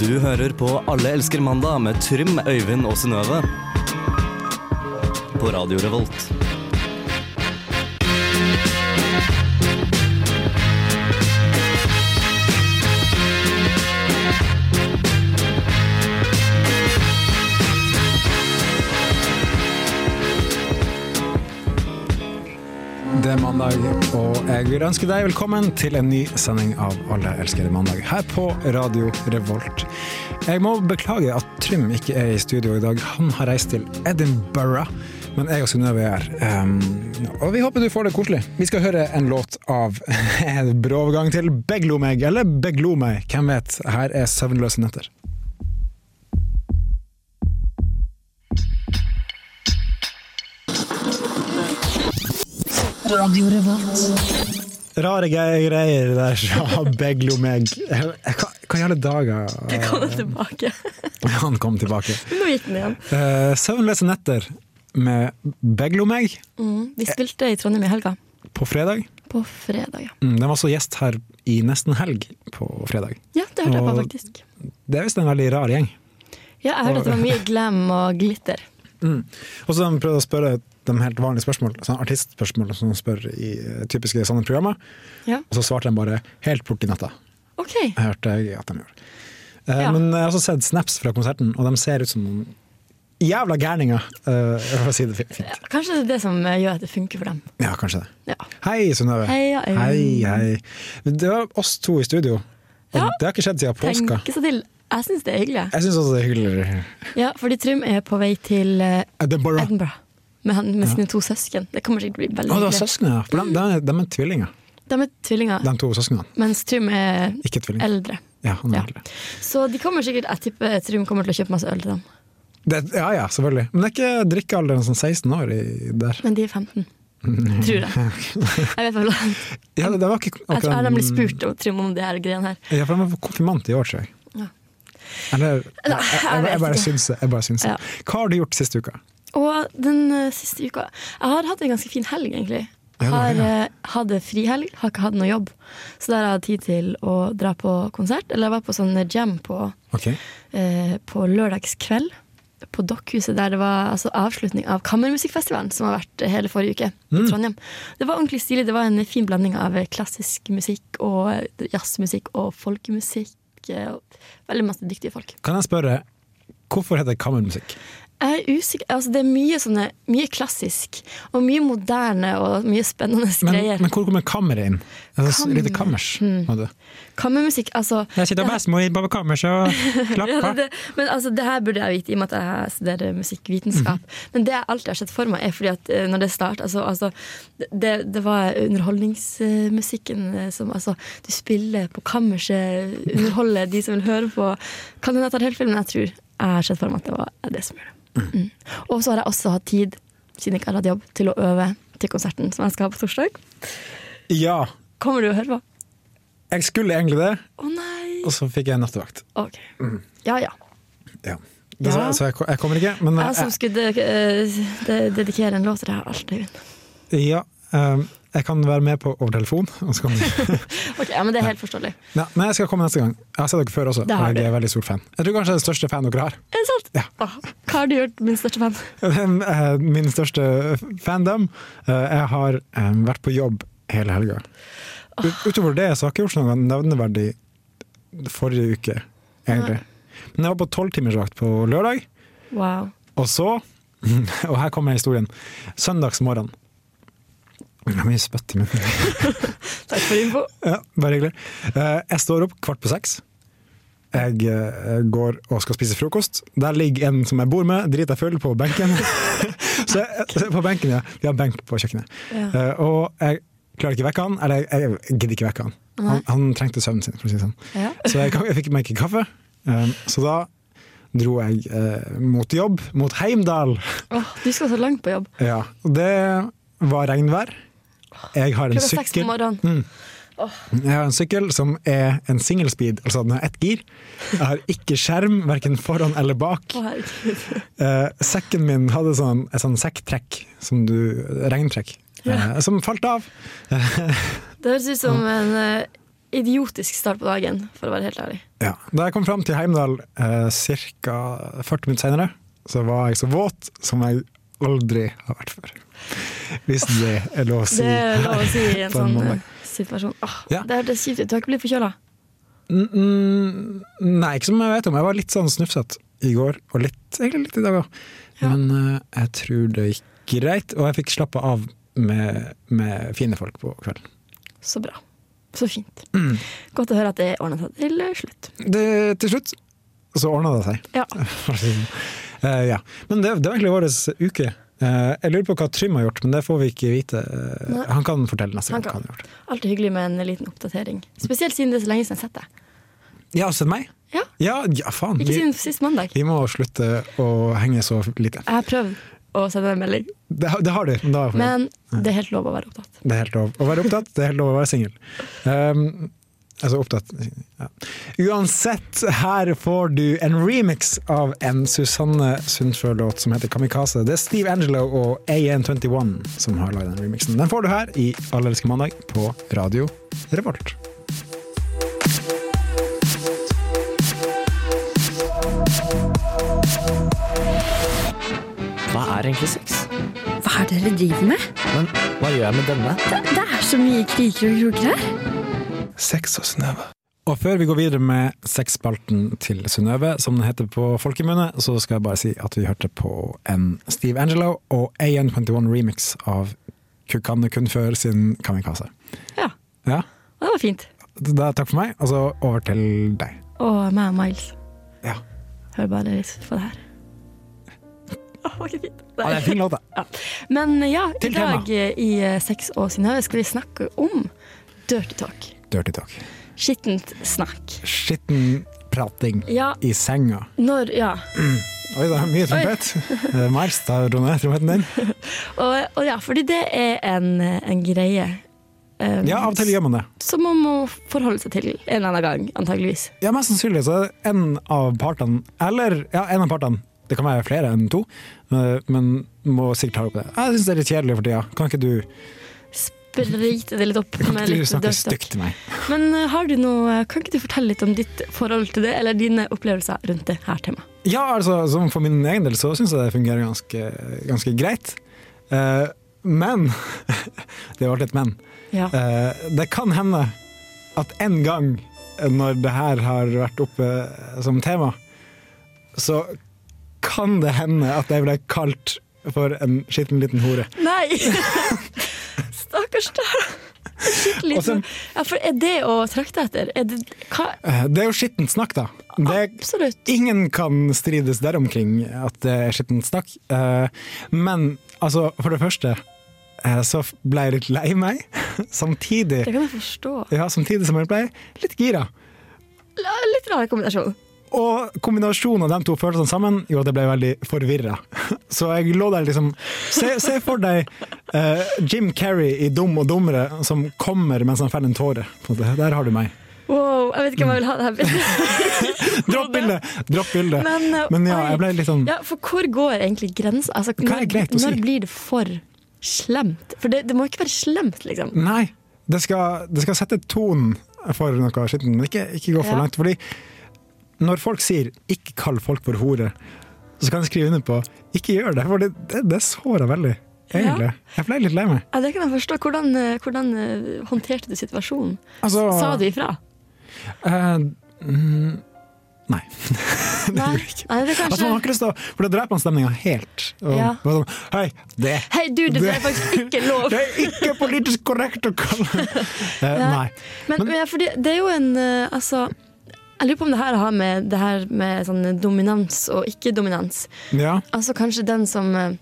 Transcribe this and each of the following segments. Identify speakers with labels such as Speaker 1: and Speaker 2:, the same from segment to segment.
Speaker 1: Du hører på Alle elsker mandag med Trym, Øyvind og Synnøve. På Radio Revolt.
Speaker 2: Det er mandag, og jeg vil ønske deg velkommen til en ny sending av Alle elsker mandag her på Radio Revolt. Jeg må beklage at Trym ikke er i studio i dag. Han har reist til Edinburgh, men jeg og Synnøve er her. Um, og vi håper du får det koselig. Vi skal høre en låt av en brå overgang til Beglo meg, eller Beglo meg, hvem vet. Her er Søvnløse netter. Rare ge- greier der, sa Beglo meg. Hva, hva i alle dager
Speaker 3: Kom tilbake.
Speaker 2: han kom tilbake?
Speaker 3: Nå gikk den igjen.
Speaker 2: Eh, Søvnløse netter med Beglo meg
Speaker 3: Mm, vi spilte i Trondheim i helga.
Speaker 2: på fredag.
Speaker 3: På fredag, ja.
Speaker 2: Mm, Den var også gjest her i nesten helg på fredag.
Speaker 3: Ja, det hørte jeg på,
Speaker 2: Og-
Speaker 3: faktisk.
Speaker 2: Det er visst en veldig rar gjeng.
Speaker 3: Ja, jeg hørte at det var mye glam og glitter.
Speaker 2: Mm. Og så har de prøvd å spørre de helt vanlige spørsmål, sånn artistspørsmål som de spør i eh, typiske sånne programmer,
Speaker 3: Ja,
Speaker 2: og så svarte de bare helt bort i natta.
Speaker 3: OK.
Speaker 2: Jeg hørte jeg at de gjorde. Eh,
Speaker 3: Ja.
Speaker 2: Men jeg har også sett snaps fra konserten, og de ser ut som noen jævla gærninger, eh, for å si det fi- fint.
Speaker 3: Kanskje det er det som gjør at det funker for dem.
Speaker 2: Ja, kanskje det.
Speaker 3: Ja.
Speaker 2: Hei, Synnøve.
Speaker 3: Heia, Øyvind.
Speaker 2: hei, hei. Det var oss to i studio, og
Speaker 3: Ja.
Speaker 2: det har ikke skjedd siden påska.
Speaker 3: Tenke seg til. Jeg syns det er hyggelig.
Speaker 2: Jeg syns også det er hyggelig.
Speaker 3: Ja, fordi Trym er på vei til eh,
Speaker 2: Edinburgh.
Speaker 3: Edinburgh med, han, med sine to søsken. Det kommer sikkert bli veldig
Speaker 2: Å, det var
Speaker 3: hyggelig.
Speaker 2: søsken, ja. For de, de, de er tvillinger,
Speaker 3: De er tvillinger,
Speaker 2: de to søsknene.
Speaker 3: mens Trym er
Speaker 2: Ikke tvillinger.
Speaker 3: eldre.
Speaker 2: Ja, han er
Speaker 3: Ja.
Speaker 2: eldre.
Speaker 3: Så de kommer sikkert, jeg tipper Trym kommer til å kjøpe masse øl til dem.
Speaker 2: Det, ja ja, selvfølgelig. Men det er ikke drikkealderen som 16 år i, der.
Speaker 3: Men de er 15.
Speaker 2: Mm.
Speaker 3: Tror jeg. Jeg vet vel
Speaker 2: Ja, det, det var ikke
Speaker 3: Jeg tror jeg har nemlig
Speaker 2: akkurat-
Speaker 3: spurt om- Trym om de her greiene her.
Speaker 2: Ja, for de var konfirmant i år, tror jeg.
Speaker 3: Ja.
Speaker 2: Eller jeg, jeg, jeg,
Speaker 3: vet
Speaker 2: bare
Speaker 3: ikke.
Speaker 2: syns det. Jeg bare syns det.
Speaker 3: Ja.
Speaker 2: Hva har du gjort siste uka?
Speaker 3: Og den eh, siste uka Jeg har hatt en ganske fin helg, egentlig.
Speaker 2: Ja, det har
Speaker 3: Har
Speaker 2: jeg, ja.
Speaker 3: eh, hatt frihelg, har ikke hatt noe jobb. Så der har jeg hatt tid til å dra på konsert. Eller jeg var på sånn jam på,
Speaker 2: Ok.
Speaker 3: eh, på lørdagskveld. På Dokkhuset, der det var altså, avslutning av Kammermusikkfestivalen, som har vært eh, hele forrige uke i
Speaker 2: Mm.
Speaker 3: Trondheim. Det var ordentlig stilig. Det var en fin blanding av eh, klassisk musikk og eh, jazzmusikk og folkemusikk. eh, og Veldig masse dyktige folk.
Speaker 2: Kan jeg spørre, hvorfor heter det kammermusikk?
Speaker 3: Jeg er usikker, altså Det er mye, sånne, mye klassisk og mye moderne og mye spennende
Speaker 2: Men,
Speaker 3: greier.
Speaker 2: men hvor kommer kammeret inn? Altså,
Speaker 3: Kammer. Hmm.
Speaker 2: Lite kammers. på en måte.
Speaker 3: Kammermusikk, altså
Speaker 2: Jeg sitter best med på kammerset og
Speaker 3: ja,
Speaker 2: klapper.
Speaker 3: det, Men altså, det her burde jeg vite i og med at jeg studerer musikkvitenskap. Men det jeg alltid har sett for meg, er fordi at eh, når det startet altså, altså, det, det var underholdningsmusikken eh, som altså, Du spiller på kammerset, underholder de som vil høre på. Kan hende jeg tar helt feil, men jeg tror jeg har sett for meg at det var det som gjorde det. Mm. Og så har jeg også hatt tid, siden jeg ikke har hatt jobb, til å øve til konserten som jeg skal ha på torsdag.
Speaker 2: Ja,
Speaker 3: Kommer du og hører på?
Speaker 2: jeg skulle egentlig det,
Speaker 3: Å nei!
Speaker 2: og så fikk jeg nattevakt.
Speaker 3: Ok. Ja ja.
Speaker 2: Ja. Dessverre,
Speaker 3: Ja.
Speaker 2: så jeg, ko- jeg kommer ikke. Men
Speaker 3: Jeg som
Speaker 2: jeg,
Speaker 3: skulle eh, de- dedikere en låt til deg, alltid vinn.
Speaker 2: ja, um, jeg kan være med på over telefon. Og så kan du.
Speaker 3: Ok, ja, men Det er helt forståelig.
Speaker 2: Nei, men jeg skal komme neste gang. Jeg har sett dere før også,
Speaker 3: Det har
Speaker 2: og jeg
Speaker 3: du.
Speaker 2: er veldig stor fan. Jeg tror kanskje jeg er den største fan dere har.
Speaker 3: Er det sant?
Speaker 2: Ja.
Speaker 3: Åh, hva har du gjort, min største fan?
Speaker 2: Eh, Min største fandom. Eh, Jeg har eh, vært på jobb hele helga. U- Utover det så har jeg ikke gjort noe nevneverdig forrige uke, egentlig. Men jeg var på tolvtimersvakt på lørdag,
Speaker 3: Wow.
Speaker 2: og så Og her kommer historien. Søndagsmorgen. Det er mye spytt i munnen.
Speaker 3: Takk for info.
Speaker 2: Ja, bare hyggelig. Eh, Jeg står opp kvart på seks. Jeg eh, går og skal spise frokost. Der ligger en som jeg bor med, drita full, på benken. så jeg, så på benken, ja. Vi har benk på kjøkkenet.
Speaker 3: Ja.
Speaker 2: Eh, Og jeg klarer ikke vekke han, eller jeg, jeg gidder ikke vekke han. Han, han trengte søvnen sin, for å si det sånn.
Speaker 3: Ja.
Speaker 2: Så jeg, jeg fikk meg ikke kaffe. Um, Så da dro jeg eh, mot jobb, mot Heimdal.
Speaker 3: Åh, du skal så langt på jobb.
Speaker 2: Ja, og det var regnvær. Jeg har en
Speaker 3: Klokka seks på
Speaker 2: sykkel. Mm.
Speaker 3: morgenen.
Speaker 2: Jeg har en sykkel som er en single speed, altså den har ett gir. Jeg har ikke skjerm, verken foran eller bak.
Speaker 3: Å, herregud.
Speaker 2: Eh, sekken min hadde sånn, et sånn sekktrekk, som du, regntrekk, eh, som falt av. Mm.
Speaker 3: Det høres ut som en eh, idiotisk start på dagen, for å være helt ærlig.
Speaker 2: Ja. Da jeg kom fram til Heimdal eh, ca. 40 minutter senere, så var jeg så våt som jeg aldri har vært før. Hvis det er lov å si.
Speaker 3: Det er lov å si i en
Speaker 2: på en
Speaker 3: sånn
Speaker 2: mandag.
Speaker 3: eh, situasjon. Åh,
Speaker 2: Ja.
Speaker 3: Det hørtes kjipt ut. Du har ikke blitt forkjøla?
Speaker 2: Mm, mm, Nei, ikke som jeg vet om. Jeg var litt sånn snufsete i går, og litt, egentlig litt i dag òg.
Speaker 3: Ja.
Speaker 2: Men eh, jeg tror det gikk greit, og jeg fikk slappa av med, med fine folk på kvelden.
Speaker 3: Så bra. Så fint.
Speaker 2: Mm.
Speaker 3: Godt å høre at det ordna seg til slutt.
Speaker 2: Det, til slutt så ordna det seg.
Speaker 3: Ja.
Speaker 2: for å si det. Eh, ja. Men det, det var egentlig vår uke. Eh, jeg lurer på hva Trym har gjort, men det får vi ikke vite. Eh,
Speaker 3: Nei.
Speaker 2: han kan fortelle neste
Speaker 3: Han
Speaker 2: gang hva
Speaker 3: kan.
Speaker 2: han har gjort.
Speaker 3: Alltid hyggelig med en liten oppdatering. Spesielt siden det er så lenge siden jeg har sett deg.
Speaker 2: Ja, og sett meg?
Speaker 3: Ja,
Speaker 2: Ja, ja faen.
Speaker 3: Ikke
Speaker 2: Vi,
Speaker 3: siden sist mandag.
Speaker 2: vi må slutte å henge så lite.
Speaker 3: Jeg har prøvd å sende en melding,
Speaker 2: Det, har- det har du. Men da er jeg fornøyd.
Speaker 3: men det er helt lov å være opptatt.
Speaker 2: Det er helt lov å være opptatt, det er helt lov å være singel. Um, altså opptatt ja. Uansett, her får du en remix av en Susanne Sundfør-låt som heter 'Kamikaze'. Det er Steve Angelo og A121 som har lagd den remixen. Den får du her i Alle elsker mandag på Radio Revolt.
Speaker 4: Hva er egentlig sex?
Speaker 5: Hva er det dere driver med?
Speaker 4: Men hva gjør jeg med denne?
Speaker 5: Det er så mye kriker og kroker her.
Speaker 6: Sex og snøve.
Speaker 2: Og før vi går videre med sexspalten til Synnøve, som den heter på folkemunne, så skal jeg bare si at vi hørte på en Steve Angelo og AN21 remix av Kukanne kun før sin Kamikaze.
Speaker 3: Ja,
Speaker 2: Ja,
Speaker 3: og det var fint.
Speaker 2: da takk for meg, og så over til deg.
Speaker 3: Og meg og Miles.
Speaker 2: Ja.
Speaker 3: Hør bare litt på det her. Å, var ikke fint.
Speaker 2: Ja, det er en fin låt, da.
Speaker 3: Ja. Men ja, i
Speaker 2: Til
Speaker 3: dag eh, i eh, Sex og Synnøve skal vi snakke om dirty talk.
Speaker 2: Dirty talk.
Speaker 3: Skittent snakk.
Speaker 2: Skitten prating
Speaker 3: Ja,
Speaker 2: i senga.
Speaker 3: når Ja.
Speaker 2: Oi, det er mye trompet. Eh, Miles, da roer ned trompeten din.
Speaker 3: Og, og ja, fordi det er en, en greie. eh,
Speaker 2: Ja, av og til gjør man det.
Speaker 3: Som man må forholde seg til en eller annen gang, antageligvis.
Speaker 2: Ja, mest sannsynlig så er det en av partene, eller ja, en av partene, det kan være flere enn to, eh, men må sikkert ta opp det. Jeg synes det er litt kjedelig for tida. Kan ikke du,
Speaker 3: Sprite det litt opp
Speaker 2: kan
Speaker 3: med
Speaker 2: ikke du
Speaker 3: litt
Speaker 2: snakke
Speaker 3: dirty talk.
Speaker 2: stygt til meg?
Speaker 3: Men eh, har du noe, kan ikke du fortelle litt om ditt forhold til det, eller dine opplevelser rundt det her temaet?
Speaker 2: Ja, altså, som for min egen del så syns jeg det fungerer ganske, ganske greit. Eh, men Det var alltid et men.
Speaker 3: Ja.
Speaker 2: Eh, det kan hende at en gang når det her har vært oppe som tema, så kan det hende at jeg ble kalt for en skitten liten hore.
Speaker 3: Nei! Stakkars deg. Skikkelig.
Speaker 2: Og så-
Speaker 3: sånn. ja, for er det å trakte etter? Er det, hva?
Speaker 2: Eh, Det er jo skittent snakk, da. Det,
Speaker 3: Absolutt.
Speaker 2: ingen kan strides deromkring at det er skittent snakk. Eh, Men altså, for det første eh, så f- ble jeg litt lei meg. Samtidig,
Speaker 3: Det kan jeg forstå.
Speaker 2: ja, samtidig som jeg ble litt gira.
Speaker 3: La- Litt rar kombinasjon.
Speaker 2: Og kombinasjonen av de to følelsene sammen gjorde at jeg ble veldig forvirra. Så jeg lå der liksom Se, se for deg eh, Jim Carrey i Dum og dummere som kommer mens han feller en tåre. På en måte. Der har du meg.
Speaker 3: Wow, jeg vet ikke om jeg vil ha det her bildet.
Speaker 2: Dropp bildet! Dropp bildet.
Speaker 3: Men, eh,
Speaker 2: Men ja,
Speaker 3: oi.
Speaker 2: jeg ble litt sånn
Speaker 3: Ja, for hvor går egentlig grensa? Altså,
Speaker 2: Hva er
Speaker 3: når-
Speaker 2: greit å si?
Speaker 3: Når blir det for slemt? For det, det må ikke være slemt, liksom.
Speaker 2: Nei, det skal, det skal sette tonen for noe skittent, men ikke, ikke gå for
Speaker 3: Ja.
Speaker 2: langt. Fordi når folk sier 'ikke kall folk for hore', så kan jeg skrive under på 'ikke gjør det', for det, det, det sårer veldig. Egentlig. Jeg ble litt lei meg.
Speaker 3: Ja, det kan jeg forstå. Hvordan, eh, hvordan eh, håndterte du situasjonen?
Speaker 2: Altså-
Speaker 3: Sa du ifra?
Speaker 2: Eh, mm, nei.
Speaker 3: Nei, Nei det
Speaker 2: Altså, man har
Speaker 3: er kanskje...
Speaker 2: ikke lyst til å For da dreper man stemninga helt. Og,
Speaker 3: Ja.
Speaker 2: bare sånn, Hei, det,
Speaker 3: Hei, du, det
Speaker 2: Det-
Speaker 3: er faktisk ikke lov.
Speaker 2: det er ikke politisk korrekt å kalle Eh, Nei.
Speaker 3: Men, men ja, fordi det er jo en eh, Altså, jeg lurer på om det her har med det her med sånn dominans og ikke-dominans.
Speaker 2: Ja.
Speaker 3: Altså kanskje den som eh,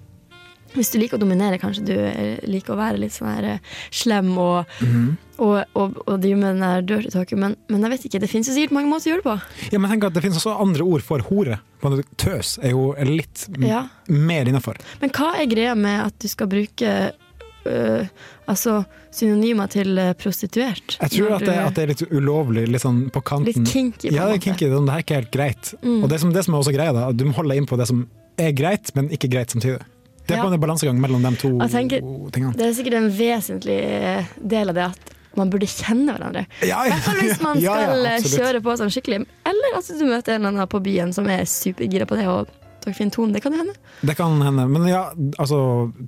Speaker 3: Hvis du liker å dominere, kanskje du eh, liker å være litt sånn her eh, slem og,
Speaker 2: Mhm.
Speaker 3: og, og, og drive med den der dirty talken, men, men jeg vet ikke. Det finnes jo sikkert mange måter å gjøre det på.
Speaker 2: ja, men tenk at det finnes også andre ord for hore. På en måte, Tøs er jo litt m-
Speaker 3: Ja.
Speaker 2: mer innafor.
Speaker 3: Men hva er greia med at du skal bruke øh, altså synonymer til øh, prostituert?
Speaker 2: Jeg tror
Speaker 3: Når
Speaker 2: at
Speaker 3: du
Speaker 2: det, at det er litt ulovlig, litt sånn på kanten.
Speaker 3: Litt kinky, på
Speaker 2: ja, det er
Speaker 3: en måte. Mm.
Speaker 2: kinky. Sånn, det her er ikke helt greit. Og det som, det som er også greia, da, at du må holde inn på det som er greit, men ikke greit samtidig. Det er
Speaker 3: Ja.
Speaker 2: på en balansegang mellom de to
Speaker 3: Jeg tenker-
Speaker 2: tingene.
Speaker 3: Det er sikkert en vesentlig øh, eh, del av det at man burde kjenne hverandre.
Speaker 2: Ja,
Speaker 3: I hvert fall hvis man
Speaker 2: Ja, ja,
Speaker 3: skal eh,
Speaker 2: absolutt.
Speaker 3: kjøre på sånn skikkelig. Eller at du møter en eller annen på byen som er supergira på det, og tar fin tone. Det kan jo hende.
Speaker 2: Det kan hende. Men ja, altså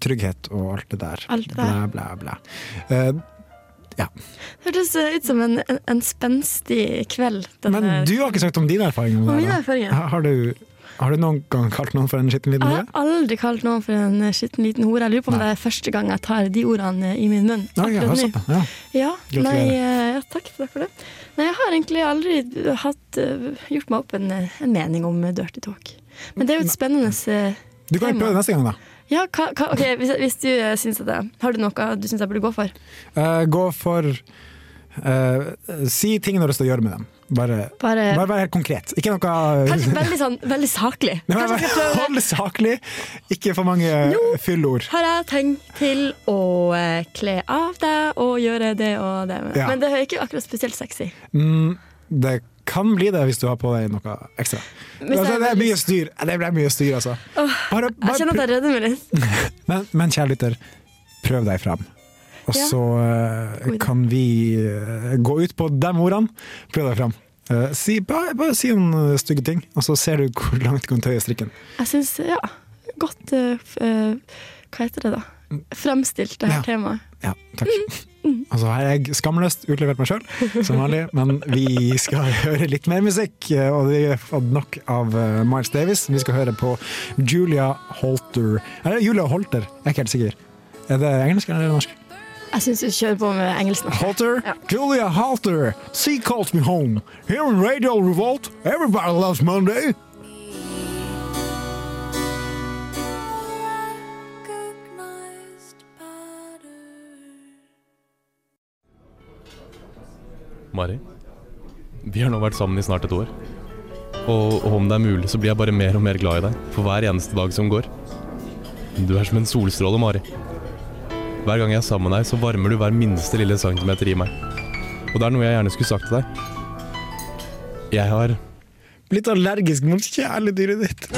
Speaker 2: Trygghet og alt det der.
Speaker 3: Alt det
Speaker 2: Blæ,
Speaker 3: der.
Speaker 2: blæ, blæ. Eh,
Speaker 3: Hørtes eh, ut som en, en, en spenstig kveld.
Speaker 2: men du har ikke sagt om dine erfaringer
Speaker 3: Og
Speaker 2: med
Speaker 3: mine
Speaker 2: det? da.
Speaker 3: erfaringer.
Speaker 2: Har- Har du, har du noen gang kalt noen for en skitten liten
Speaker 3: Jeg
Speaker 2: hore?
Speaker 3: har aldri kalt noen for en eh, skitten liten hore. Jeg lurer på om det er første gang jeg tar de ordene eh, i min munn.
Speaker 2: Ah, ja,
Speaker 3: akkurat nå.
Speaker 2: sånn, ja.
Speaker 3: Ja,
Speaker 2: Gratulerer.
Speaker 3: nei, eh, ja, takk for det. For det. Nei, jeg har egentlig aldri hatt, eh, gjort meg opp en, eh, en mening om eh, dirty talk. Men det er jo et spennende eh,
Speaker 2: Du kan jo prøve neste gang, da.
Speaker 3: Ja, hva, hva, ok, hvis, hvis du eh, syns at jeg Har du noe du syns jeg burde gå for?
Speaker 2: Eh, gå for eh, Si ting du har lyst til å gjøre med dem. Bare,
Speaker 3: Bare
Speaker 2: bare vær helt konkret. Ikke noe
Speaker 3: Eh.
Speaker 2: eh,
Speaker 3: Kanskje veldig sånn Veldig saklig.
Speaker 2: Nei,
Speaker 3: Kanskje
Speaker 2: men
Speaker 3: jeg skal
Speaker 2: bare
Speaker 3: prøve
Speaker 2: Hold det saklig, ikke for mange eh,
Speaker 3: Jo.
Speaker 2: fyllord.
Speaker 3: har jeg tenkt til å eh, kle av deg og gjøre det og det.
Speaker 2: Ja.
Speaker 3: Men det er ikke akkurat spesielt sexy.
Speaker 2: Mm, det kan bli det hvis du har på deg noe ekstra.
Speaker 3: Hvis
Speaker 2: altså,
Speaker 3: jeg
Speaker 2: det er
Speaker 3: veldig-
Speaker 2: mye styr, det ble mye styr altså. Bare,
Speaker 3: Jeg
Speaker 2: bare,
Speaker 3: kjenner at jeg redder meg litt.
Speaker 2: prøv- men, men kjære lytter, prøv deg fram. Og
Speaker 3: Ja.
Speaker 2: så eh, kan vi eh, gå ut på de ordene. Prøv deg fram. Eh, si, bare, bare si noen eh, stygge ting, og så ser du hvor langt du kan tøye strikken.
Speaker 3: Jeg syns, ja, godt eh, f- eh, Hva heter det, da? Fremstilt det her
Speaker 2: Ja.
Speaker 3: temaet.
Speaker 2: Ja, takk. Altså, her er jeg skamløst utlevert meg sjøl, som vanlig, men vi skal høre litt mer musikk. eh, Og vi har fått nok av eh, Miles Davis. Vi skal høre på Julia Holter Eller Julia Holter, jeg er ikke helt sikker. Er det engelsk eller er det norsk?
Speaker 3: Jeg syns vi kjører på med engelsk nå.
Speaker 2: Halter,
Speaker 3: Ja.
Speaker 2: Julia Halter, She Calls Me Home. Here on Radio Revolt, everybody loves Monday.
Speaker 7: Mari, vi har nå vært sammen i snart et år. Og, og om det er mulig, så blir jeg bare mer og mer glad i deg for hver eneste dag som går. Du er som en solstråle, Mari. Hver gang jeg er sammen med deg, så varmer du hver minste lille centimeter i meg. Og det er noe jeg gjerne skulle sagt til deg. Jeg har
Speaker 2: Blitt allergisk mot kjæledyret ditt.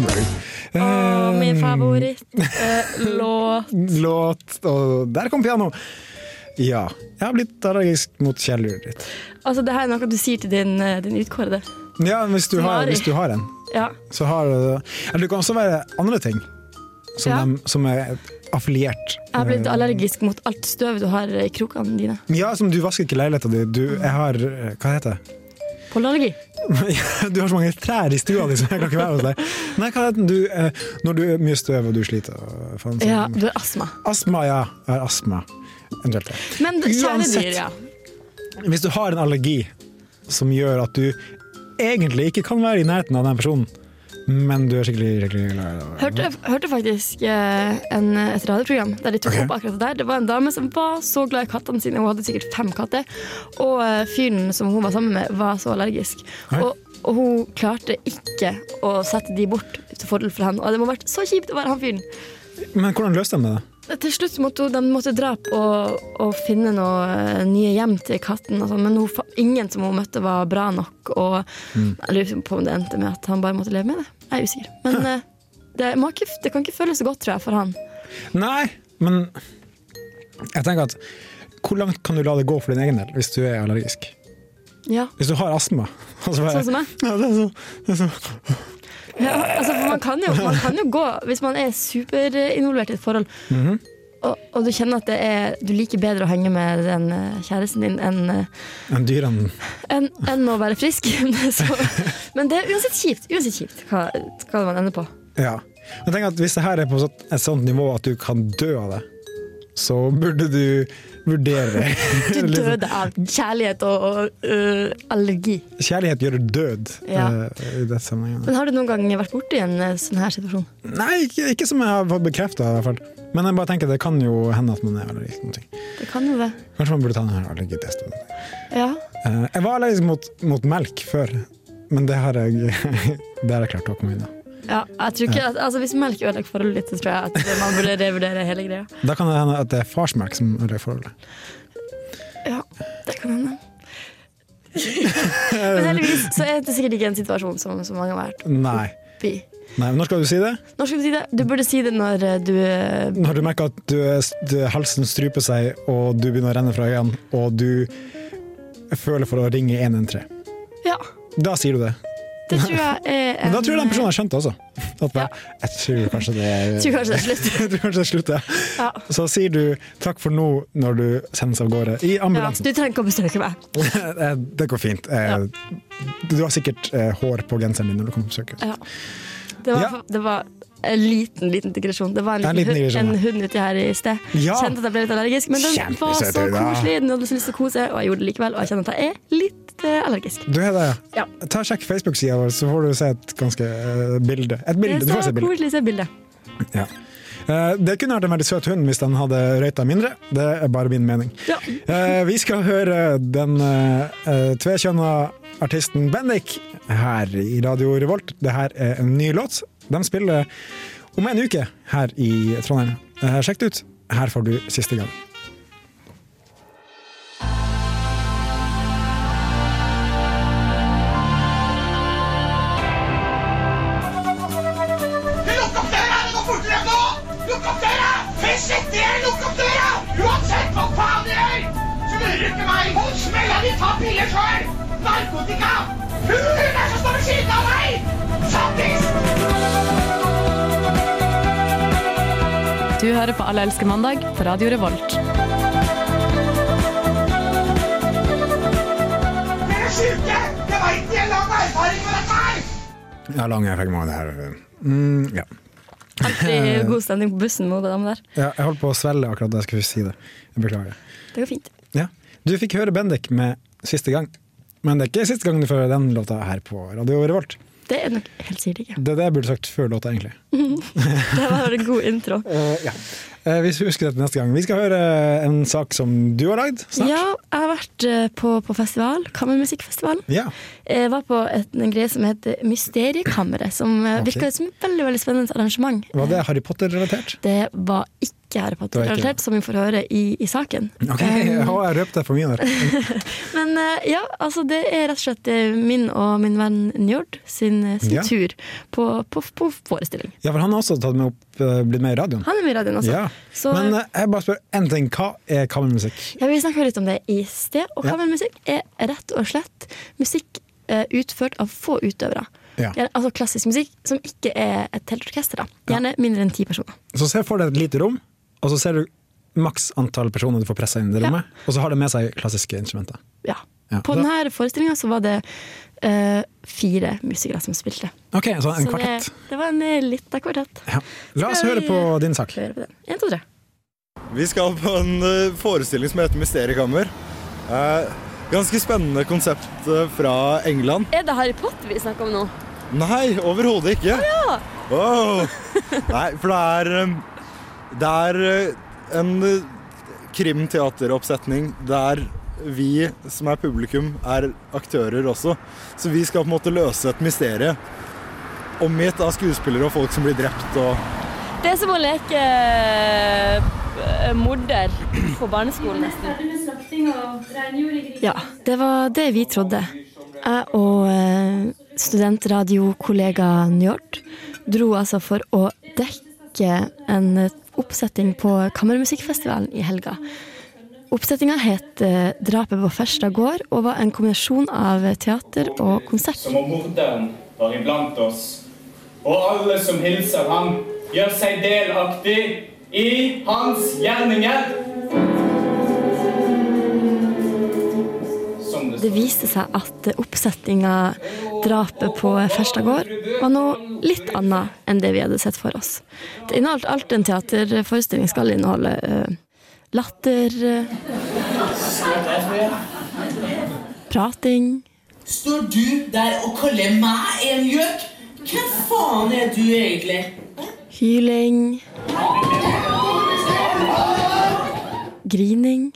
Speaker 3: Og min eh, favorittlåt.
Speaker 2: Låt, og der kom piano. Ja, jeg har blitt allergisk mot kjæledyret ditt.
Speaker 3: altså, det her er noe du sier til din, eh, din utkårede.
Speaker 2: Ja, hvis du har,
Speaker 3: Mari.
Speaker 2: hvis du har en.
Speaker 3: Ja.
Speaker 2: Så har du Eller det kan også være andre ting som,
Speaker 3: Ja.
Speaker 2: dem- som er affiliert.
Speaker 3: Jeg har blitt allergisk mot alt støv du har i krokene dine.
Speaker 2: Eh, Ja, som du vasker ikke leiligheten din. Du, jeg har eh, Hva heter det?
Speaker 3: Pollenallergi.
Speaker 2: Du har så mange trær i stua di, så jeg kan ikke være hos deg. Nei, hva heter den? Du, eh, når du er mye støv og du sliter og faen sånn.
Speaker 3: Ja, du har astma.
Speaker 2: Astma, ja. Jeg har astma. Eventuelt det.
Speaker 3: Men
Speaker 2: Uansett.
Speaker 3: kjæledyr, ja.
Speaker 2: Hvis du har en allergi som gjør at du egentlig ikke kan være i nærheten av den personen, men du er skikkelig, skikkelig glad i den.
Speaker 3: Hørte, hørte faktisk eh, en, et radioprogram der de tok
Speaker 2: Ok.
Speaker 3: opp akkurat det der. Det var en dame som var så glad i kattene sine, hun hadde sikkert fem katter. Og eh, fyren som hun var sammen med, var så allergisk.
Speaker 2: Oi.
Speaker 3: Og, og hun klarte ikke å sette de bort til fordel for henne. Og det må ha vært så kjipt å være han fyren.
Speaker 2: Men hvordan løste de det? da?
Speaker 3: Eh, Til slutt måtte hun, de måtte dra på og, og finne noe eh, nye hjem til katten. Og sånn, men hun, fa- ingen som hun møtte, var bra nok. Og jeg lurer liksom på om det endte med at han bare måtte leve med det. Jeg er usikker. Men eh, det, må ikke, det kan ikke føles så godt, tror jeg, for han.
Speaker 2: Nei, men jeg tenker at hvor langt kan du la det gå for din egen del hvis du er allergisk?
Speaker 3: Ja,
Speaker 2: Hvis du har astma. og så bare-
Speaker 3: sånn som meg.
Speaker 2: Ja, det er så, det er så.
Speaker 3: Ja, altså, for man, kan jo, man kan jo gå, hvis man er superinvolvert i et forhold, og, og du kjenner at det er, du liker bedre å henge med den eh, kjæresten din enn eh,
Speaker 2: Men dyrene
Speaker 3: enn- enn å være frisk. så, men det er uansett kjipt. Uansett kjipt hva, hva man ender på.
Speaker 2: Ja. Jeg tenker at Hvis det her er på sånn- et sånt nivå at du kan dø av det, så burde du vurdere
Speaker 3: Du
Speaker 2: Litt sånn,
Speaker 3: døde av kjærlighet og, og øh, allergi.
Speaker 2: Kjærlighet gjør død
Speaker 3: Ja.
Speaker 2: eh, i dette sammenhengen.
Speaker 3: Men har du noen gang vært borti en eh, sånn her situasjon?
Speaker 2: Nei, ikke, ikke som jeg har fått bekrefta, i hvert fall. Men jeg bare tenker det kan jo hende at man er allergisk mot ting.
Speaker 3: Det kan jo det.
Speaker 2: Kanskje man burde ta den her allergitesten.
Speaker 3: Ja.
Speaker 2: Eh, Jeg var allergisk mot, mot melk før, men det har jeg, det har jeg klart å komme unna.
Speaker 3: ja jeg tror ikke at, altså, hvis melk ødelegger forholdet ditt, så tror jeg at man burde revurdere hele greia.
Speaker 2: Da kan det hende at det er farsmelk som ødelegger forholdet.
Speaker 3: Men heldigvis så er det sikkert ikke en situasjon som, som mange har vært
Speaker 2: Nei.
Speaker 3: oppi.
Speaker 2: Nei, men Når skal du si det?
Speaker 3: Når skal du si det? Du burde si det når eh, du eh,
Speaker 2: Når du merker at du, du, halsen struper seg, og du begynner å renne fra øynene, og du føler for å ringe 113.
Speaker 3: Ja,
Speaker 2: Da sier du det.
Speaker 3: det tror jeg er
Speaker 2: Men da
Speaker 3: en- øh,
Speaker 2: tror jeg den personen har skjønt det også. At bare, jeg tror kanskje det er
Speaker 3: Jeg tror kanskje det er slutt.
Speaker 2: Jeg tror kanskje det er slutt, ja.
Speaker 3: Ja.
Speaker 2: Så sier du 'takk for nå' når du sendes av gårde i
Speaker 3: Ja,
Speaker 2: ambulansen.
Speaker 3: du trenger ikke å besøke meg.
Speaker 2: Eh, Det går fint. Eh, Du har sikkert eh, hår på genseren din når du kommer på besøk.
Speaker 3: Ja. Det var,
Speaker 2: Ja.
Speaker 3: det var en liten liten digresjon. Det var en,
Speaker 2: Det er en
Speaker 3: liten
Speaker 2: liten digresjon,
Speaker 3: hund, en
Speaker 2: ja.
Speaker 3: hund uti her i sted.
Speaker 2: Ja.
Speaker 3: Kjente at jeg ble litt allergisk, men den var
Speaker 2: Kjempesøt
Speaker 3: så
Speaker 2: hund, da.
Speaker 3: koselig. Den hadde så lyst til å kose, og jeg gjorde det likevel. Og jeg kjenner at jeg er litt eh, allergisk.
Speaker 2: Du er det,
Speaker 3: Ja.
Speaker 2: Ta og Sjekk Facebook-sida vår, så får du se et ganske eh, bilde. Et
Speaker 3: Det
Speaker 2: bilde.
Speaker 3: er
Speaker 2: Du får
Speaker 3: så
Speaker 2: se et bilde.
Speaker 3: koselig å se bildet.
Speaker 2: Ja. Eh, Det kunne vært en veldig søt hund hvis den hadde røyta mindre. Det er bare min mening.
Speaker 3: Ja.
Speaker 2: Eh, Vi skal høre den eh, eh, tvekjønna artisten Bendik her i Radio Revolt. Det her er en ny låt. De spiller om en uke her i Trondheim. Eh, Sjekk det ut. Her får du siste gang.
Speaker 8: Lukk opp døra! Det går fortere enn nå! Lukk opp døra! Først etter dere, lukk opp døra! Uansett hva faen dere gjør, så lurer dere ikke meg. Hold smella di, ta piller sjøl! Narkotika! Hun er som står ved siden av meg! Sattis!
Speaker 9: Du hører på Alle elsker mandag på Radio Revolt.
Speaker 8: Dere er sjuke! Jeg veit de har
Speaker 2: Ja, lang
Speaker 8: lang erfaring med dette her!
Speaker 2: jeg fikk meg det her. Mm, ja.
Speaker 3: Alltid god stemning på bussen med den damen der.
Speaker 2: Ja, jeg holdt på å svelle akkurat da jeg skulle si det. Jeg beklager.
Speaker 3: Det går fint.
Speaker 2: Ja. Du fikk høre Bendik med Siste gang. Men det er ikke siste gang du får høre den låta her på Radio Revolt.
Speaker 3: Det er nok helt sikkert ikke.
Speaker 2: Det er det jeg burde sagt før låta, egentlig.
Speaker 3: Det var en god intro.
Speaker 2: Eh, vi husker dette neste gang. Vi skal høre en sak som du har lagd snart.
Speaker 3: Ja, jeg har vært eh, på, på festival. Kammermusikkfestivalen.
Speaker 2: Ja.
Speaker 3: Jeg var på et, en greie som heter Mysteriekammeret, som okay.
Speaker 2: Ok.
Speaker 3: virka som et veldig, veldig spennende arrangement.
Speaker 2: Var det Harry Potter-relatert?
Speaker 3: Det var ikke Harry Potter
Speaker 2: Det var ikke
Speaker 3: relatert, som vi får høre i, i saken.
Speaker 2: Ok,
Speaker 3: Um,
Speaker 2: jeg har røpt deg for mye der.
Speaker 3: men eh, ja, altså det er rett og slett eh, min og min venn Njord sin, eh, sin
Speaker 2: Ja.
Speaker 3: tur på, på, på forestilling.
Speaker 2: Ja, for han har også tatt meg opp, eh, blitt med i radioen.
Speaker 3: Han er med i radioen også.
Speaker 2: Ja.
Speaker 3: Så
Speaker 2: Men
Speaker 3: eh,
Speaker 2: eh, jeg bare spør én ting. Hva er kammermusikk?
Speaker 3: ja, vi snakka litt om det i sted, og
Speaker 2: Ja.
Speaker 3: kammermusikk er rett og slett musikk eh, utført av få utøvere.
Speaker 2: Ja.
Speaker 3: Gjerne- Altså klassisk musikk som ikke er et helt orkester. da. Gjerne mindre enn ti personer.
Speaker 2: Så se for deg et lite rom, og så ser du maks antall personer du får pressa inn i det
Speaker 3: Ja.
Speaker 2: rommet, og så har de med seg klassiske instrumenter.
Speaker 3: Ja.
Speaker 2: Ja.
Speaker 3: På denne forestillinga så var det eh, fire musikere som spilte.
Speaker 2: Ok, så en
Speaker 3: Så
Speaker 2: kvartett.
Speaker 3: Det, det var en eh, lita kvartett.
Speaker 2: Ja. La oss
Speaker 3: Skal
Speaker 2: høre
Speaker 3: vi-
Speaker 2: på din sak.
Speaker 3: Hør på den. En, to, tre.
Speaker 10: Vi skal på en eh, forestilling som heter Mysteriekammer. Eh, Ganske spennende konsept eh, fra England.
Speaker 5: Er det Harry Potter vi snakker om nå?
Speaker 10: Nei, overhodet ikke. Wow. Nei, for det er eh, Det er eh, en eh, krimteateroppsetning der vi som er publikum, er aktører også. Så vi skal på en måte løse et mysterium. Omgitt av skuespillere og folk som blir drept og
Speaker 5: Det er som å leke eh, morder på barneskolen, nesten.
Speaker 3: Ja, det var det vi trodde. Jeg og eh, studentradiokollega Njord dro altså for å dekke en eh, oppsetting på Kammermusikkfestivalen i helga. Oppsettinga het eh, 'Drapet på Ferstad gård' og var en kombinasjon av teater og konsert.
Speaker 11: som om morderen var iblant oss. Og alle som hilser ham, gjør seg delaktig i hans gjerninger. Som det
Speaker 3: Det viste seg at oppsettinga 'Drapet på Ferstad gård' var noe litt annet enn det vi hadde sett for oss. Det inneholdt alt en teaterforestilling skal inneholde. eh, Latter eh, Prating.
Speaker 8: Står du der og kaller meg en gjøk? Hvem faen er du egentlig?
Speaker 3: Hyling. Grining.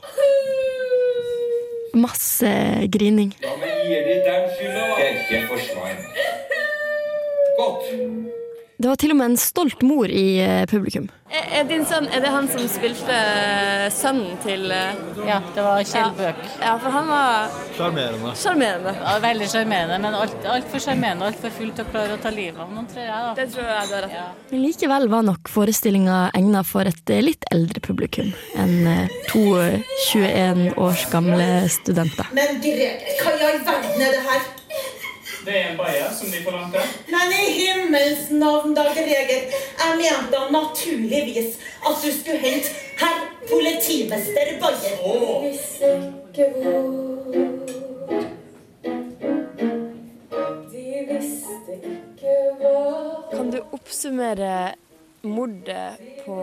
Speaker 3: Masse grining.
Speaker 11: Ikke forsvar. Godt.
Speaker 3: Det var til og med en stolt mor i eh, publikum.
Speaker 5: Er, er din sønn Er det han som spilte eh, sønnen til eh, Ja, det var Kjell Bøk. Ja, for han var
Speaker 10: Sjarmerende.
Speaker 5: sjarmerende.
Speaker 12: Ja, veldig sjarmerende, men altfor alt altfor sjarmerende og altfor fullt til å klare å ta livet av noen, tror jeg. da.
Speaker 5: Det tror jeg du har rett i.
Speaker 3: Men likevel var nok forestillinga egna for et eh, litt eldre publikum enn eh, to eh, 21 års gamle studenter.
Speaker 13: Men Grete, hva i all verden er det her?
Speaker 11: Det er en baie som de forlangte.
Speaker 13: Men i himmels navn, da, Greger. Jeg mente da naturligvis at du skulle hente herr politimester Bayer.
Speaker 3: Kan du oppsummere mordet på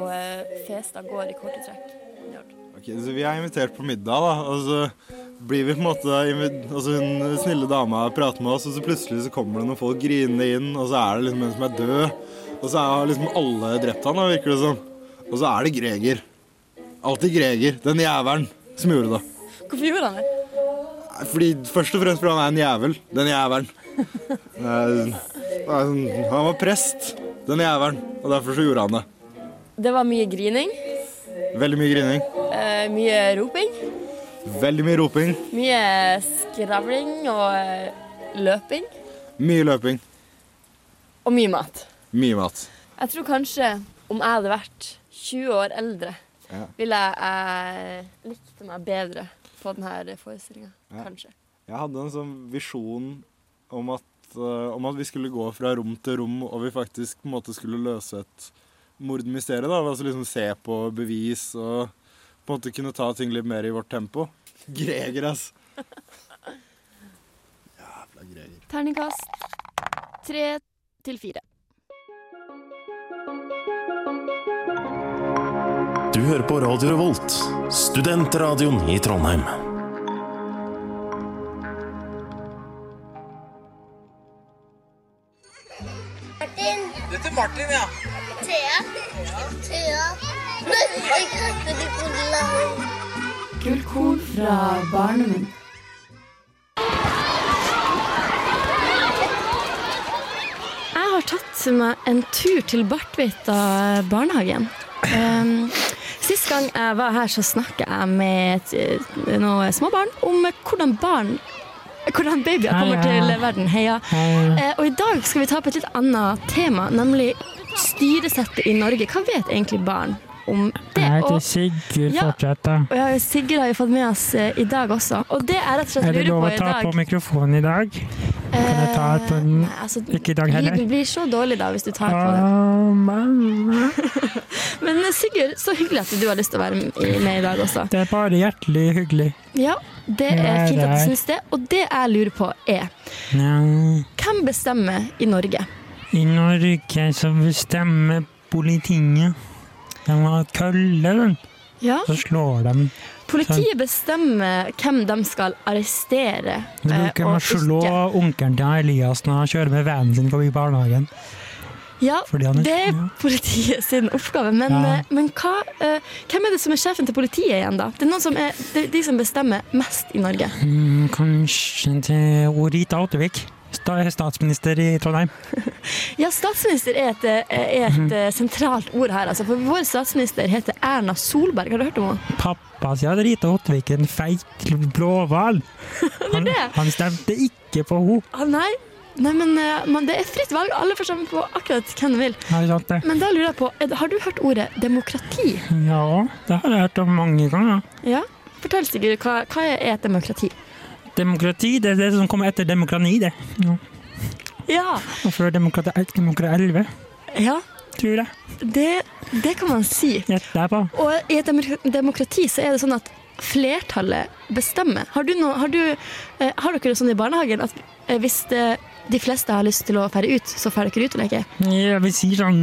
Speaker 3: Festad gård i korte trekk?
Speaker 10: Ok, så Vi er invitert på middag, da. Og så blir vi på en måte invi- altså Hun snille dama prater med oss, og så plutselig så kommer det noen folk grinende inn, og så er det liksom en som er død. Og så har liksom alle drept han, da, virker det som. Og så er det Greger. Alltid Greger, den jævelen, som gjorde det.
Speaker 3: Hvorfor gjorde han det?
Speaker 10: Nei, Fordi Først og fremst fordi han er en jævel. Den jævelen. Eh, det er sånn- Han var prest, den jævelen. Og derfor så gjorde han det.
Speaker 3: Det var mye grining,
Speaker 10: Veldig mye grining.
Speaker 3: eh, mye roping,
Speaker 10: Veldig mye roping.
Speaker 3: mye skravling og eh, løping,
Speaker 10: Mye løping.
Speaker 3: og mye mat.
Speaker 10: Mye mat.
Speaker 3: Jeg tror kanskje om jeg hadde vært 20 år eldre,
Speaker 10: Ja.
Speaker 3: ville jeg eh, likt meg bedre på denne forestillinga.
Speaker 10: Ja.
Speaker 3: Kanskje.
Speaker 10: Jeg hadde en sånn visjon om at, eh, om at vi skulle gå fra rom til rom, og vi faktisk på en måte skulle løse et mordmysterium. da, altså liksom Se på bevis og på en måte kunne ta ting litt mer i vårt tempo. Greger, ass. Jævla Greger.
Speaker 3: Terningkast tre til fire.
Speaker 14: Du hører på Radio Revolt, studentradioen i Trondheim.
Speaker 15: Martin. Det heter Martin, ja. Thea. Thea. Jeg heter Nicola.
Speaker 9: Gullkorn fra barndommen.
Speaker 3: Jeg har tatt meg en tur til Bartvita barnehagen. Um, sist gang jeg var her, så snakket jeg med et- noen små barn om hvordan barn hvordan babyer kommer
Speaker 16: Heia.
Speaker 3: til verden. Heia. Eh, og i dag skal vi ta opp et litt annet tema, nemlig styresettet i Norge. Hva vet egentlig barn om det?
Speaker 16: Jeg heter
Speaker 3: Og,
Speaker 16: Sigurd
Speaker 3: Ja.
Speaker 16: Fortsette.
Speaker 3: og ja, Sigurd har jo fått med oss eh, i dag også. Og det jeg rett og
Speaker 16: Er
Speaker 3: slett
Speaker 16: det
Speaker 3: lurer
Speaker 16: lov
Speaker 3: på
Speaker 16: å
Speaker 3: i
Speaker 16: ta
Speaker 3: dag
Speaker 16: på mikrofonen i dag? Kan jeg ta på den?
Speaker 3: altså,
Speaker 16: Ikke i dag heller?
Speaker 3: Lyden blir så dårlig da hvis du tar på den.
Speaker 16: Ah,
Speaker 3: Men eh, Sigurd, så hyggelig at du har lyst til å være med med i dag også.
Speaker 16: Det er bare hjertelig hyggelig.
Speaker 3: Ja, det
Speaker 16: Ja,
Speaker 3: er fint at
Speaker 16: det
Speaker 3: du
Speaker 16: er.
Speaker 3: syns det. Og det jeg lurer på, er
Speaker 16: Ja.
Speaker 3: hvem bestemmer i Norge?
Speaker 16: I Norge så bestemmer politiet. De har kølle, den.
Speaker 3: Ja.
Speaker 16: Så slår de.
Speaker 3: Politiet bestemmer hvem de skal arrestere.
Speaker 16: Så
Speaker 3: eh,
Speaker 16: bruker de å
Speaker 3: og
Speaker 16: slå
Speaker 3: ikke.
Speaker 16: onkelen til Elias når han kjører med vennen sin forbi barnehagen.
Speaker 3: Ja,
Speaker 16: Fordi han er-
Speaker 3: det er politiet sin oppgave. Men,
Speaker 16: Ja.
Speaker 3: eh, men hva, eh, hvem er det som er sjefen til politiet igjen, da? Det er noen som er, det er de som bestemmer mest i Norge.
Speaker 16: Mm, Kanskje til Rita Ottervik, sta- statsminister i Trondheim.
Speaker 3: Ja, statsminister er et, eh, er et eh, sentralt ord her, altså. For vår statsminister heter Erna Solberg. Har du hørt om henne?
Speaker 16: Pappa sier at Rita Ottervik er en feit blåhval. Han, han stemte ikke på henne.
Speaker 3: Ah, nei. Nei, men, eh, men det er fritt valg. Alle får stemme på akkurat hvem de vil.
Speaker 16: Har du sant det?
Speaker 3: Men da lurer jeg på, er det- har du hørt ordet demokrati?
Speaker 16: Ja, det har jeg hørt om mange ganger.
Speaker 3: Ja? Fortell, Sigurd, hva, hva er et demokrati?
Speaker 16: Demokrati, det er det som kommer etter demokrati, det. Ja.
Speaker 3: Ja,
Speaker 16: Og før demokrati er demokrati 11,
Speaker 3: ja
Speaker 16: tror jeg.
Speaker 3: det, det kan man si. Og i et demok- demokrati så er det sånn at flertallet bestemmer. Har, du noe, har, du, eh, har dere det sånn i barnehagen at eh, hvis det, de fleste har lyst til å ferde ut, så ferder dere ut og leker?
Speaker 16: Ja, vi sier sånn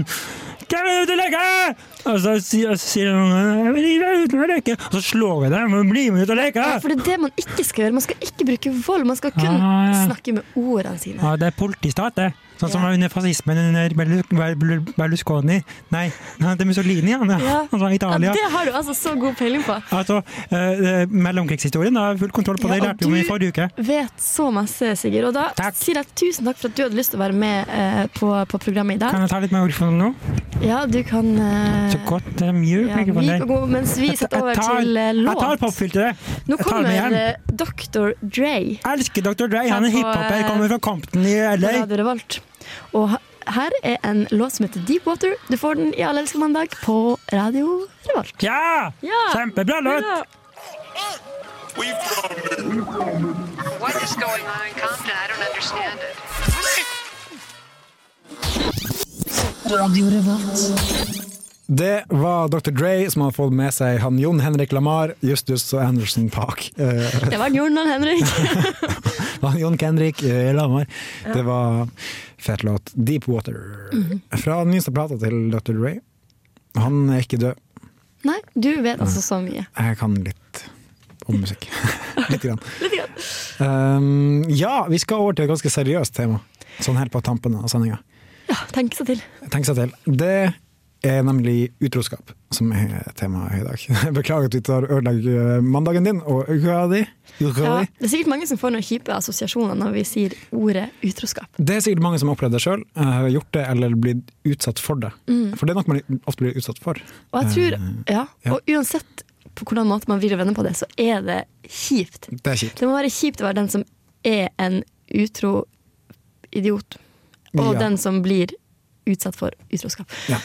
Speaker 16: 'Hvem er det ute og leker?' Og så sier, og så sier noen 'Jeg vil ikke være ute og leke', og så slår jeg dem og blir med ut og leker.
Speaker 3: Ja, for det er det man ikke skal gjøre. Man skal ikke bruke vold. Man skal kun
Speaker 16: Ah, ja.
Speaker 3: snakke med ordene sine.
Speaker 16: Ja, det er politistat, det. Sånn som under fascismen under Berlu- Berlu- Berlusconi. Nei, nei, det er Mussolini, han.
Speaker 3: Ja.
Speaker 16: Han fra Italia.
Speaker 3: Ja, det har du altså så god peiling på.
Speaker 16: Altså, eh, eh, mellomkrigshistorien har full kontroll på det,
Speaker 3: Ja, og
Speaker 16: lærte vi om i
Speaker 3: du
Speaker 16: forrige uke.
Speaker 3: vet så masse, Sigurd. Og da sier jeg tusen takk for at du hadde lyst til å være med eh, på, på programmet i dag.
Speaker 16: Kan jeg ta litt mer ordfører nå?
Speaker 3: Ja, du kan eh,
Speaker 16: Så godt det er mjuk.
Speaker 3: ja,
Speaker 16: ikke på
Speaker 3: vi
Speaker 16: deg.
Speaker 3: kan gå- Mens vi
Speaker 16: Jeg-
Speaker 3: setter over
Speaker 16: jeg tar-
Speaker 3: til eh,
Speaker 16: Jeg tar
Speaker 3: låt.
Speaker 16: popfilteret.
Speaker 3: Nå
Speaker 16: Jeg tar det
Speaker 3: kommer
Speaker 16: med hjem.
Speaker 3: eh, Dr. Dre.
Speaker 16: Elsker Dr. Dre. Han er
Speaker 3: Her på,
Speaker 16: hiphoper,
Speaker 3: eh,
Speaker 16: kommer fra Compton i
Speaker 3: på
Speaker 16: LA.
Speaker 3: Radio Revolt. Og he- her er en låt som heter Deep Water. Du får den i Alle elsker mandag på Radio Revolt.
Speaker 16: Ja!
Speaker 3: Ja!
Speaker 16: Kjempebra låt!
Speaker 3: Hurra!
Speaker 17: What is going on in Compton? I don't understand it.
Speaker 2: Det var Dr. Dre som hadde fått med seg han Jon Henrik Lamar, Justus og Anderson Park. Eh,
Speaker 3: Det var Jordan og Henrik.
Speaker 2: han Jon Kendrick eh, Lamar.
Speaker 3: Ja.
Speaker 2: Det var fet låt. Deep Water.
Speaker 3: Mhm.
Speaker 2: Fra den nyeste plata til Dr. Dre. Han er ikke død.
Speaker 3: Nei, du vet altså så mye.
Speaker 2: Jeg kan litt om musikk. litt grann. Um, ja, vi skal over til et ganske seriøst tema, sånn helt på tampen av sendinga.
Speaker 3: Ja, tenk seg til.
Speaker 2: Tenk seg til. Det er nemlig utroskap som er temaet i dag. Beklager at vi tar ødelegger mandagen din og uka di. Uka
Speaker 3: Ja,
Speaker 2: di.
Speaker 3: det er sikkert mange som får noen kjipe assosiasjoner når vi sier ordet utroskap.
Speaker 2: Det er sikkert mange som har opplevd det sjøl, gjort det eller blitt utsatt for det.
Speaker 3: Mm.
Speaker 2: For det er noe man ofte blir utsatt for.
Speaker 3: Og jeg tror,
Speaker 2: Eh,
Speaker 3: ja,
Speaker 2: ja.
Speaker 3: og uansett på hvordan måte man vrir og vender på det, så er det kjipt.
Speaker 2: Det er kjipt.
Speaker 3: Det må være kjipt å være den som er en utro idiot, og
Speaker 2: Ja.
Speaker 3: den som blir utsatt for utroskap.
Speaker 2: Ja.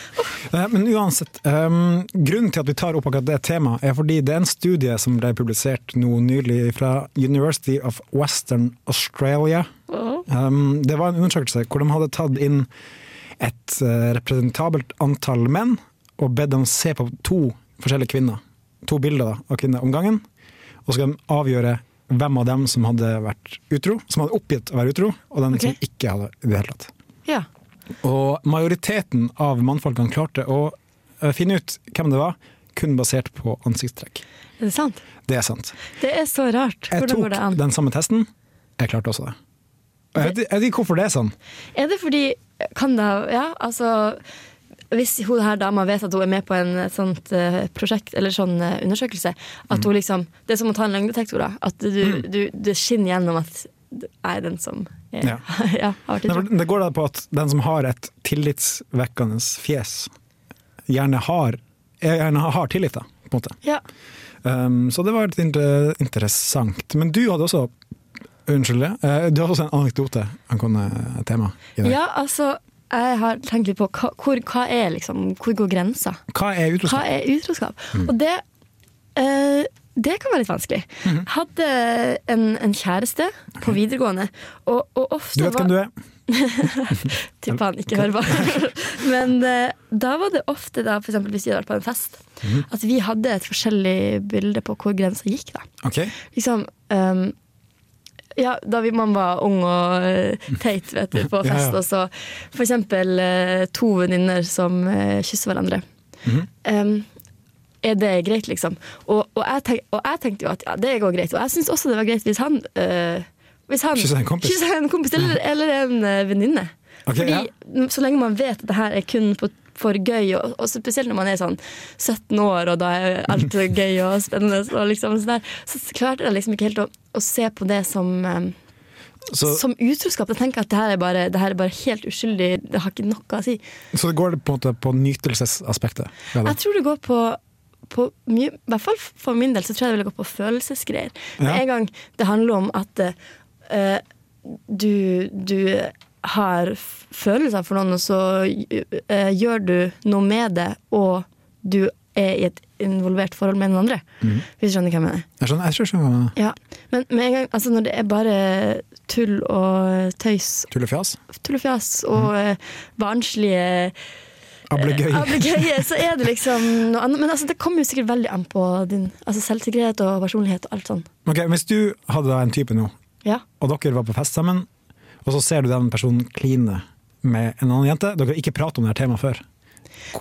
Speaker 2: Eh, Men uansett, ehm, grunnen til at vi tar opp akkurat det temaet, er fordi det er en studie som ble publisert nå nylig fra University of Western Australia. Ehm, det var en undersøkelse hvor de hadde tatt inn et eh, representabelt antall menn og bedt dem se på to forskjellige kvinner, to bilder da, av kvinner om gangen, og så skal de avgjøre hvem av dem som hadde vært utro, som hadde oppgitt å være utro, og den som ikke hadde i det hele tatt.
Speaker 3: Ja.
Speaker 2: Og majoriteten av mannfolkene klarte å eh, finne ut hvem det var, kun basert på ansiktstrekk.
Speaker 3: Er det sant?
Speaker 2: Det er sant.
Speaker 3: Det er så rart.
Speaker 2: Jeg
Speaker 3: Hvordan
Speaker 2: tok
Speaker 3: går det an?
Speaker 2: den samme testen, jeg klarte også det. Og Jeg vet jeg vet ikke hvorfor det er sånn.
Speaker 3: Er det fordi Kan det Ja, altså hvis hun her dama vet at hun er med på en sånt eh, prosjekt eller sånn eh, undersøkelse At
Speaker 2: Mm.
Speaker 3: hun liksom Det er som å ta en løgndetektor, da. At du, du, det skinner gjennom at jeg er den som er,
Speaker 2: Ja.
Speaker 3: ja. har vært
Speaker 2: Nei,
Speaker 3: utro.
Speaker 2: for Det går da på at den som har et tillitsvekkende fjes, gjerne har, gjerne har tillit, da, på en måte.
Speaker 3: Ja.
Speaker 2: Um, så det var litt inter interessant. Men du hadde også Unnskyld, det. eh, du hadde også en anekdote angående temaet. i dag.
Speaker 3: Ja, altså jeg har tenkt litt på hva, hvor, hva er liksom, hvor går grensa?
Speaker 2: Hva er utroskap? Mm.
Speaker 3: Hva er utroskap? Og det, eh, det kan være litt vanskelig.
Speaker 2: Mm-hmm.
Speaker 3: Hadde en, en kjæreste på videregående, og, og ofte
Speaker 2: Du vet hvem du er.
Speaker 3: Tipper han ikke hører på. Men eh, da var det ofte, da, for eksempel hvis vi hadde vært på en fest,
Speaker 2: Mhm.
Speaker 3: at vi hadde et forskjellig bilde på hvor grensa gikk. da
Speaker 2: Ok.
Speaker 3: liksom ehm, ja, da vi, man var ung og eh, teit vet du, på
Speaker 2: Ja, ja.
Speaker 3: fest, og så for eksempel eh, to venninner som eh, kysser hverandre.
Speaker 2: Mhm.
Speaker 3: Ehm, er det greit, liksom? Og, og, jeg tenk, og jeg tenkte jo at ja, det går greit. Og jeg syns også det var greit hvis han uh, hvis han
Speaker 2: Kysser en kompis.
Speaker 3: kysser en kompis eller, eller en eh, venninne.
Speaker 2: Ok,
Speaker 3: Fordi
Speaker 2: ja.
Speaker 3: m- så lenge man vet at det her er kun på, for gøy, og, og spesielt når man er sånn 17 år, og da er alt gøy og spennende, og liksom, sånn der, så klarte jeg liksom ikke helt å, å se på det som eh,
Speaker 2: Så-
Speaker 3: som utroskap. Jeg tenker at det her, er bare, det her er bare helt uskyldig, det har ikke noe å si.
Speaker 2: Så det går på en måte på nytelsesaspektet? Ja, da.
Speaker 3: Jeg tror det går på, på mye I hvert fall for min del så tror jeg det vil gå på følelsesgreier. Med
Speaker 2: Ja.
Speaker 3: en gang det handler om at eh, du, du har f- følelser for noen, og så eh, gjør du noe med det, og du er i et involvert forhold med noen andre.
Speaker 2: Mhm.
Speaker 3: Hvis du skjønner hva jeg mener.
Speaker 2: Jeg skjønner, jeg skjønner, hva du mener.
Speaker 3: Ja. Men med en gang, altså når det er bare tull og tøys,
Speaker 2: Tullefjas?
Speaker 3: tull og fjas og
Speaker 2: Mhm.
Speaker 3: eh, barnslige
Speaker 2: Ablegøy.
Speaker 3: ja, Eh, blir gøy, så er det liksom noe annet. Men altså, det kommer jo sikkert veldig an på din altså, selvsikkerhet og personlighet og alt sånn.
Speaker 2: Ok, Hvis du hadde da en type nå,
Speaker 3: Ja.
Speaker 2: og dere var på fest sammen, og så ser du den personen kline med en annen jente Dere har ikke pratet om det her temaet før.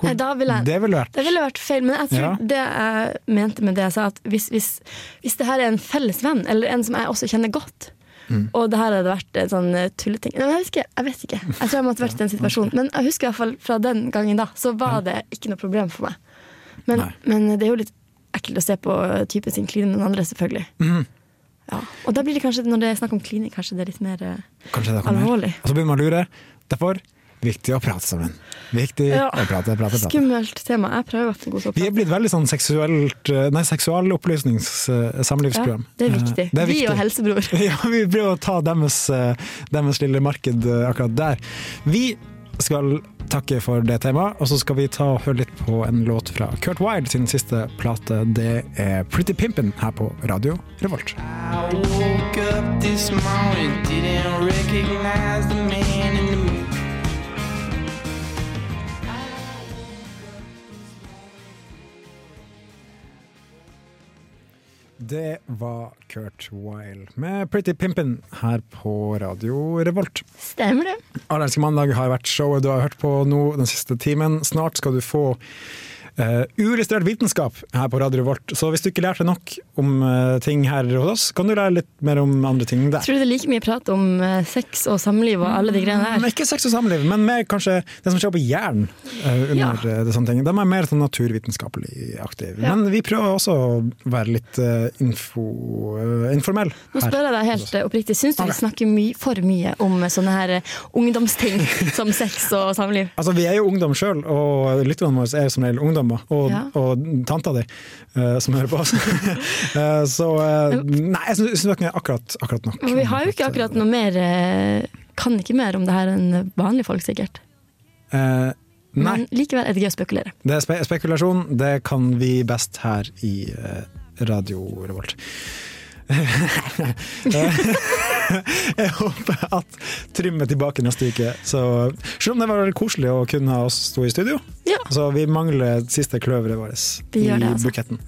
Speaker 3: Nei, da ville jeg,
Speaker 2: Det ville vært-
Speaker 3: det vært feil. Men jeg
Speaker 2: Ja.
Speaker 3: tror det jeg mente med det jeg sa, at hvis, hvis, hvis det her er en felles venn, eller en som jeg også kjenner godt,
Speaker 2: Mm.
Speaker 3: og det her hadde vært en sånn eh, tulleting Nei, men jeg, husker, jeg vet ikke. Jeg tror jeg måtte vært i den situasjonen. Men jeg husker i hvert fall fra den gangen da, så var det ikke noe problem for meg. Men, men det er jo litt ekkelt å se på eh, typen sin kline den andre, selvfølgelig.
Speaker 2: Mhm.
Speaker 3: Ja. Og da blir det kanskje, når det er snakk om klining, kanskje det er litt mer eh,
Speaker 2: Kanskje det kommer.
Speaker 3: alvorlig.
Speaker 2: Og så begynner man å lure. Derfor viktig å prate sammen. Viktig
Speaker 3: Ja.
Speaker 2: å prate, prate, prate.
Speaker 3: Skummelt tema. Jeg prøver å være en god sånn.
Speaker 2: Vi er blitt veldig sånn seksuelt eh, Nei, seksualopplysnings-samlivsprogram.
Speaker 3: Ja, det er viktig.
Speaker 2: Eh, Det er
Speaker 3: Vi og
Speaker 2: viktig.
Speaker 3: helsebror.
Speaker 2: Ja, vi prøver å ta deres, eh, deres lille marked eh, akkurat der. Vi skal takke for det temaet, og så skal vi ta og høre litt på en låt fra Kurt Wilde sin siste plate. Det er Pretty Pimpin' her på Radio Revolt.
Speaker 17: I woke up this morning, didn't recognize the man in the mirror.
Speaker 2: Det var Kurt Wilde med Pretty Pimpin' her på Radio Revolt.
Speaker 3: Stemmer det.
Speaker 2: Allerske mandag har vært showet du har hørt på nå den siste timen. Snart skal du få eh, uillustrert vitenskap her på Radio Revolt. Så hvis du ikke lærte nok om eh, ting her hos oss, kan du lære litt mer om andre ting der.
Speaker 3: Tror du det er like mye prat om eh, sex og samliv og alle de greiene
Speaker 2: Men
Speaker 3: her?
Speaker 2: Ikke sex og samliv, men mer kanskje det som skjer på hjernen. eh, under
Speaker 3: Ja.
Speaker 2: eh, det sånne ting. De er mer sånn naturvitenskapelig aktive.
Speaker 3: Ja.
Speaker 2: Men vi prøver også å være litt eh, info, eh, informell.
Speaker 3: Nå
Speaker 2: her.
Speaker 3: spør jeg deg helt eh, oppriktig, syns du vi snakker my for mye om eh, sånne her eh, ungdomsting som sex og samliv?
Speaker 2: Altså, Vi er jo ungdom sjøl, og lytterne våre er som regel ungdommer. Og,
Speaker 3: Ja.
Speaker 2: og tanta di, eh, som hører på oss. Eh, så eh, Nei, jeg syns syns dere er akkurat, akkurat nok.
Speaker 3: Men vi har jo ikke akkurat noe mer eh, Kan ikke mer om det her enn vanlige folk, sikkert.
Speaker 2: Eh, nei,
Speaker 3: Men likevel er det gøy å spekulere.
Speaker 2: det er spe spekulasjon. Det kan vi best her i eh, Radio Revolt. Eh, jeg håper at Trym er tilbake neste uke. Så, selv om det var veldig koselig å kunne ha oss to i studio, så vi mangler siste kløveret vårt
Speaker 3: Vi
Speaker 2: i
Speaker 3: gjør det, altså.
Speaker 2: buketten.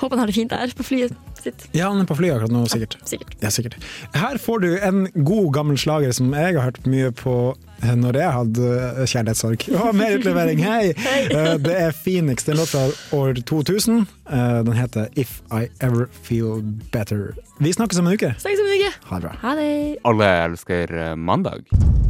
Speaker 3: Håper han har det fint der på flyet sitt.
Speaker 2: Ja, han er på flyet akkurat nå, sikkert.
Speaker 3: sikkert.
Speaker 2: Ja, sikkert. Her får du en god gammel slager som jeg har hørt mye på eh, når jeg hadde eh, kjærlighetssorg. Å, mer utlevering, hei! Eh, Det er Phoenix, det er en låt fra år 2000. Eh, Den heter If I Ever Feel Better. Vi snakkes om en uke.
Speaker 3: Snakkes om en uke!
Speaker 2: Ha det bra.
Speaker 3: Ha det!
Speaker 18: Alle elsker mandag.